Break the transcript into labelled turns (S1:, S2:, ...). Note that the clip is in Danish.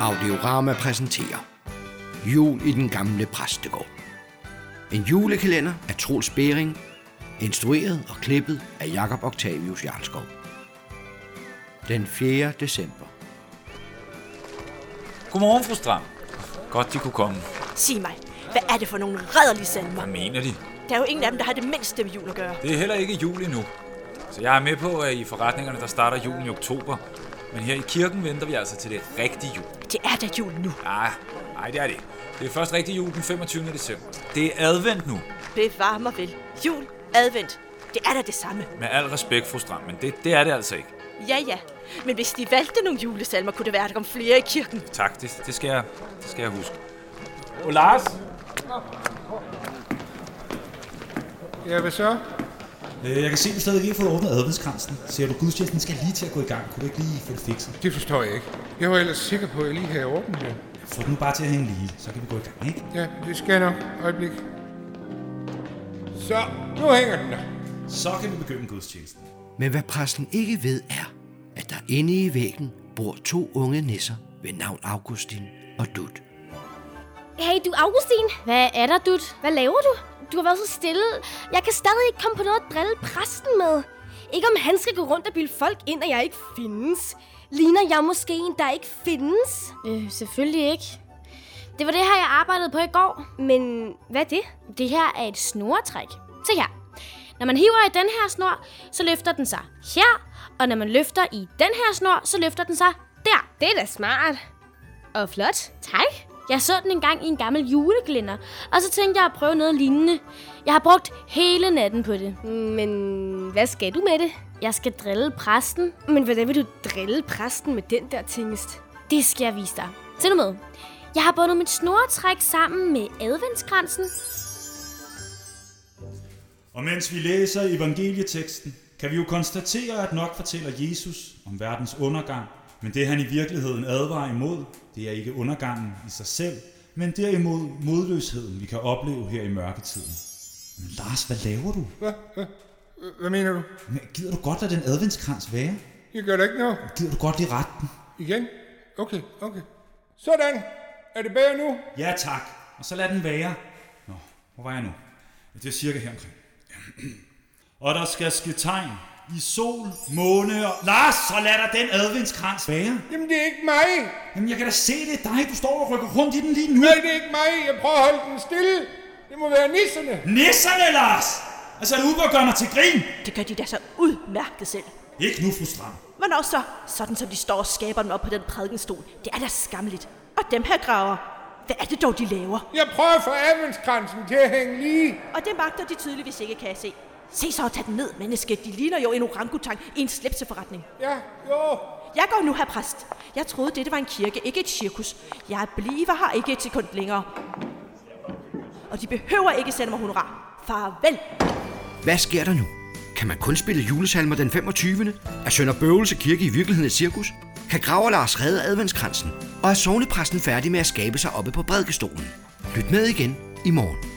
S1: Audiorama præsenterer Jul i den gamle præstegård. En julekalender af Troels Bering, instrueret og klippet af Jakob Octavius Jarlskov. Den 4. december.
S2: Godmorgen, fru Stram. Godt, de kunne komme.
S3: Sig mig, hvad er det for nogle rædderlige salmer?
S2: Hvad mener de?
S3: Der er jo ingen af dem, der har det mindste med jul at gøre.
S2: Det er heller ikke jul endnu. Så jeg er med på, at i forretningerne, der starter julen i oktober. Men her i kirken venter vi altså til det rigtige jul.
S3: Det er da jul nu.
S2: Nej, nej, det er det. ikke. Det er først rigtig jul den 25. december. Det er advent nu.
S3: Bevar mig vel. Jul, advent. Det er da det samme.
S2: Med al respekt, fru Stram, men det, det er det altså ikke.
S3: Ja, ja. Men hvis de valgte nogle julesalmer, kunne det være, at der kom flere i kirken.
S2: Tak, det, det, skal, jeg, det skal jeg huske. Og Lars?
S4: Ja, hvad så?
S5: Øh, Jeg kan se, at du stadig ikke har fået åbnet adventskransen. Siger du, gudstjenesten skal lige til at gå i gang. Kunne du ikke lige få det fikset?
S4: Det forstår jeg ikke. Jeg var ellers sikker på, at jeg lige havde åbent det.
S5: Få den nu bare til at hænge lige, så kan vi gå i gang, ikke?
S4: Ja, det skal jeg nok. Øjeblik. Så, nu hænger den der.
S5: Så kan vi begynde gudstjenesten.
S1: Men hvad præsten ikke ved er, at der inde i væggen bor to unge nisser ved navn Augustin og Dut.
S6: Hey, du Augustin. Hvad er der, dut? Hvad laver du? Du har været så stille. Jeg kan stadig ikke komme på noget at drille præsten med. Ikke om han skal gå rundt og bilde folk ind, at jeg ikke findes. Ligner jeg måske en, der ikke findes?
S7: Øh, selvfølgelig ikke. Det var det her, jeg arbejdede på i går.
S6: Men hvad er det?
S7: Det her er et snoretræk. Se her. Når man hiver i den her snor, så løfter den sig her. Og når man løfter i den her snor, så løfter den sig der.
S6: Det er da smart. Og flot.
S7: Tak. Jeg så den engang i en gammel juleglænder, og så tænkte jeg at prøve noget lignende. Jeg har brugt hele natten på det.
S6: Men hvad skal du med det?
S7: Jeg skal drille præsten.
S6: Men hvordan vil du drille præsten med den der tingest?
S7: Det skal jeg vise dig. Se nu med. Jeg har bundet mit snoretræk sammen med adventskransen.
S5: Og mens vi læser evangelieteksten, kan vi jo konstatere, at nok fortæller Jesus om verdens undergang. Men det han i virkeligheden advarer imod, det er ikke undergangen i sig selv, men derimod modløsheden, vi kan opleve her i mørketiden. Men Lars, hvad laver du?
S4: H- Hvad mener du?
S5: Men Gider du godt lade den adventskrans være?
S4: Jeg gør da ikke noget.
S5: Gider du godt lige rette den?
S4: Igen? Okay, okay. Sådan. Er det bedre nu?
S5: Ja tak, og så lad den være. Nå, hvor var jeg nu? Ja, Det er cirka her omkring. og der skal ske tegn i sol, måne og... Lars, så lad der den adventskrans være.
S4: Jamen, det er ikke mig.
S5: Jamen, jeg kan da se det er dig. Du står og rykker rundt i den lige nu.
S4: Nej, det er ikke mig. Jeg prøver at holde den stille. Det må være nisserne.
S5: Nisserne, Lars! Altså, er du ude og gøre mig til grin?
S3: Det gør de da så udmærket selv.
S5: Ikke nu, fru Stram.
S3: Men også så, sådan som de står og skaber dem op på den prædikenstol. Det er da skamligt. Og dem her graver. Hvad er det dog, de laver?
S4: Jeg prøver at få adventskransen til at hænge lige.
S3: Og det magter de tydeligvis ikke, kan jeg se. Se så at tage den ned, menneske. De ligner jo en orangutang i en slipseforretning.
S4: Ja, jo.
S3: Jeg går nu, her præst. Jeg troede, dette var en kirke, ikke et cirkus. Jeg bliver her ikke et sekund længere. Og de behøver ikke sende mig honorar. Farvel.
S1: Hvad sker der nu? Kan man kun spille julesalmer den 25. Er Sønder Bøvelse Kirke i virkeligheden et cirkus? Kan Graver Lars redde adventskransen? Og er sovnepræsten færdig med at skabe sig oppe på bredkestolen? Lyt med igen i morgen.